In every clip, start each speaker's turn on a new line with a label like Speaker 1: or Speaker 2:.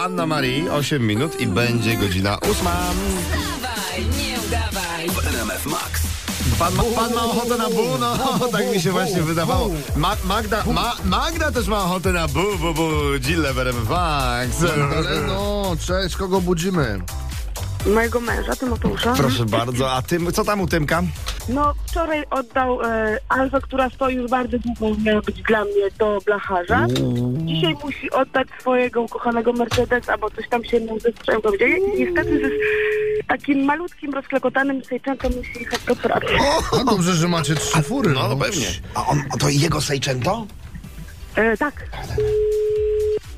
Speaker 1: Anna Marii, 8 minut i będzie godzina 8.
Speaker 2: Dawaj, nie udawaj.
Speaker 3: RMF Max.
Speaker 1: Pan ma, pan ma ochotę na bu, no, tak mi się właśnie wydawało. Ma, Magda, ma, Magda też ma ochotę na bu, bu, bu, Gilleberem Vax.
Speaker 4: Ale no, cześć, kogo budzimy?
Speaker 5: Mojego męża, Tymoteusza.
Speaker 1: Proszę bardzo, a tym, co tam u Tymka?
Speaker 5: No, wczoraj oddał e, Alfę, która stoi już bardzo długo, miała być dla mnie do blacharza. Dzisiaj musi oddać swojego ukochanego Mercedesa, bo coś tam się mu ze sprzęgłem dzieje. I Niestety ze s- takim malutkim, rozklekotanym sejczęcem musi jechać do pracy.
Speaker 4: A No dobrze, że macie trzy fury.
Speaker 1: No, no pewnie.
Speaker 3: A on, a to jego sejczęto?
Speaker 5: E, tak.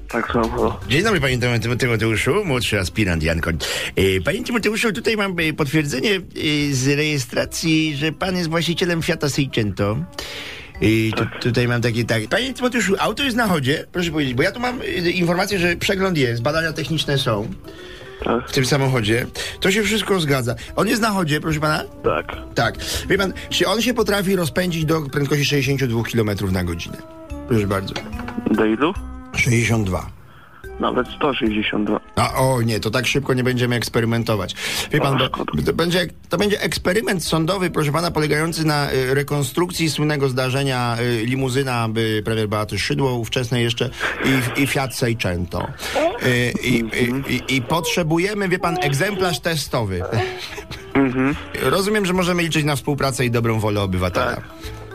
Speaker 6: Tak, słucham, halo.
Speaker 1: Dzień dobry panie Tymo- Tymo- Tymoteuszu, młodszy aspirant Janko. E, Panie Tymoteuszu, tutaj mam e, potwierdzenie e, z rejestracji, że pan jest właścicielem Fiata Seicento. I tu, tutaj mam takie tak. Panie Tymoteuszu, auto jest na chodzie, proszę powiedzieć, bo ja tu mam e, informację, że przegląd jest, badania techniczne są
Speaker 6: Tak.
Speaker 1: w tym samochodzie. To się wszystko zgadza. On jest na chodzie, proszę pana?
Speaker 6: Tak.
Speaker 1: Tak. Wie pan, czy on się potrafi rozpędzić do prędkości 62 km na godzinę? Proszę bardzo.
Speaker 6: Do ilu?
Speaker 1: 62.
Speaker 6: Nawet 162.
Speaker 1: A o nie, to tak szybko nie będziemy eksperymentować. Wie pan, bo, to, będzie, to będzie eksperyment sądowy, proszę pana, polegający na y, rekonstrukcji słynnego zdarzenia y, limuzyna y, premier Beaty Szydło, ówczesnej jeszcze, i, i Fiat Seicento. Y, i, i, i, I potrzebujemy, wie pan, egzemplarz testowy. Rozumiem, że możemy liczyć na współpracę i dobrą wolę obywatela.
Speaker 6: Tak.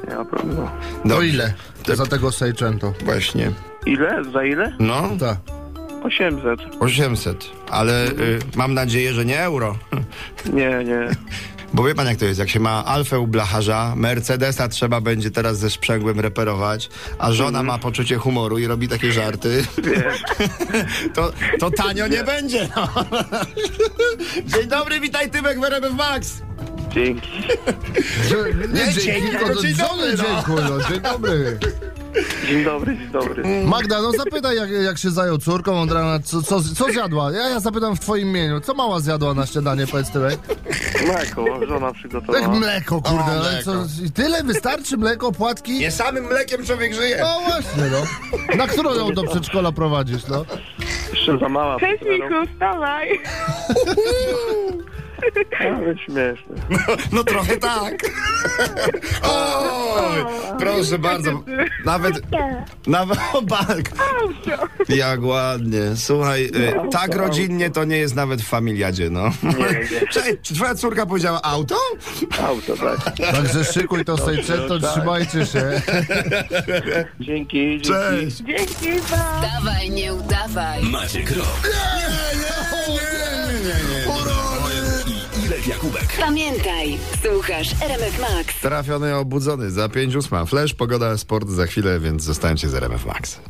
Speaker 6: Nie ma problemu.
Speaker 4: O
Speaker 1: Dobrze.
Speaker 4: ile? Za tego Seicento.
Speaker 1: Właśnie.
Speaker 6: Ile? Za ile?
Speaker 1: No,
Speaker 4: Tak.
Speaker 6: 800.
Speaker 1: 800. Ale y, mam nadzieję, że nie euro.
Speaker 6: Nie, nie.
Speaker 1: Bo wie pan jak to jest, jak się ma Alfę u blacharza, Mercedesa trzeba będzie teraz ze sprzęgłem reperować, a żona ma poczucie humoru i robi takie żarty, to, to tanio nie będzie. No. Dzień dobry, witaj Tymek w RMF Max.
Speaker 6: Dzięki.
Speaker 4: Nie,
Speaker 1: dzięki,
Speaker 4: dzięki, tylko
Speaker 1: no,
Speaker 4: to
Speaker 1: dzień
Speaker 4: żony
Speaker 1: dobry, no.
Speaker 4: dziękuję. no, Dzień dobry.
Speaker 6: Dzień dobry, dzień dobry.
Speaker 4: Magda, no zapytaj, jak, jak się zajął córką od rana, co, co, co zjadła? Ja, ja zapytam w twoim imieniu, co mała zjadła na śniadanie, powiedz tyłek?
Speaker 6: Mleko, żona
Speaker 4: Tak
Speaker 6: przygotowała.
Speaker 4: mleko, kurde,
Speaker 1: No. O,
Speaker 4: ale co, i tyle wystarczy mleko, płatki?
Speaker 1: Nie samym mlekiem człowiek żyje.
Speaker 4: No właśnie, no. Na którą ją do przedszkola prowadzisz, no?
Speaker 6: Jeszcze za mała.
Speaker 5: Cześć, Miku, wstawaj.
Speaker 6: Ale śmieszne.
Speaker 1: No trochę tak. O, proszę bardzo. Nawet... Nawet o, bank. Jak ładnie. Słuchaj, y, tak rodzinnie to nie jest nawet w familiadzie, no.
Speaker 6: nie.
Speaker 1: Cześć, czy twoja córka powiedziała auto?
Speaker 6: Auto, tak.
Speaker 4: Także szykuj to Seicento, trzymajcie się.
Speaker 6: Dzięki, dzięki.
Speaker 1: Cześć.
Speaker 5: Dzięki, bye.
Speaker 2: Dawaj, nie udawaj.
Speaker 3: Maciek Rok i Irek Jakubek.
Speaker 2: Pamiętaj, słuchasz RMF Max.
Speaker 1: Trafiony, obudzony za 5 ósma. Flash, pogoda, sport za chwilę, więc zostańcie z RMF Max.